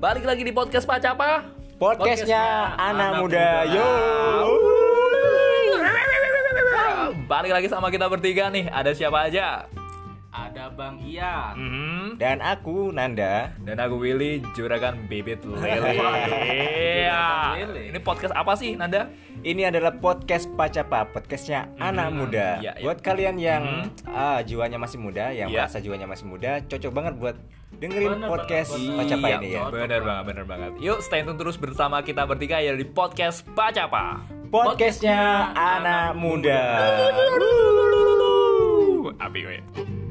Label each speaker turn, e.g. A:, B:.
A: Balik lagi di podcast Pak Capa.
B: Podcastnya anak muda, yo.
A: Balik lagi sama kita bertiga nih. Ada siapa aja?
C: Ada Bang Iya.
A: Hmm.
B: Dan aku Nanda.
A: Dan aku Willy, juragan bibit lele.
C: Juragan
A: Iya.
C: lele.
A: Ini podcast apa sih, Nanda?
B: Ini adalah podcast Pacapa, podcastnya anak muda.
A: iya, iya.
B: Buat kalian yang ah, jiwanya masih muda, yang
A: Iya.
B: merasa jiwanya masih muda, cocok banget buat dengerin
C: Bener
B: podcast
C: banget,
B: Pacapa
A: Iya,
B: ini ya.
C: bener.
A: Bener banget, bener banget. Yuk, stay tune terus bersama kita bertiga ya di podcast Pak Capa.
B: Podcastnya anak muda.
A: Api gue.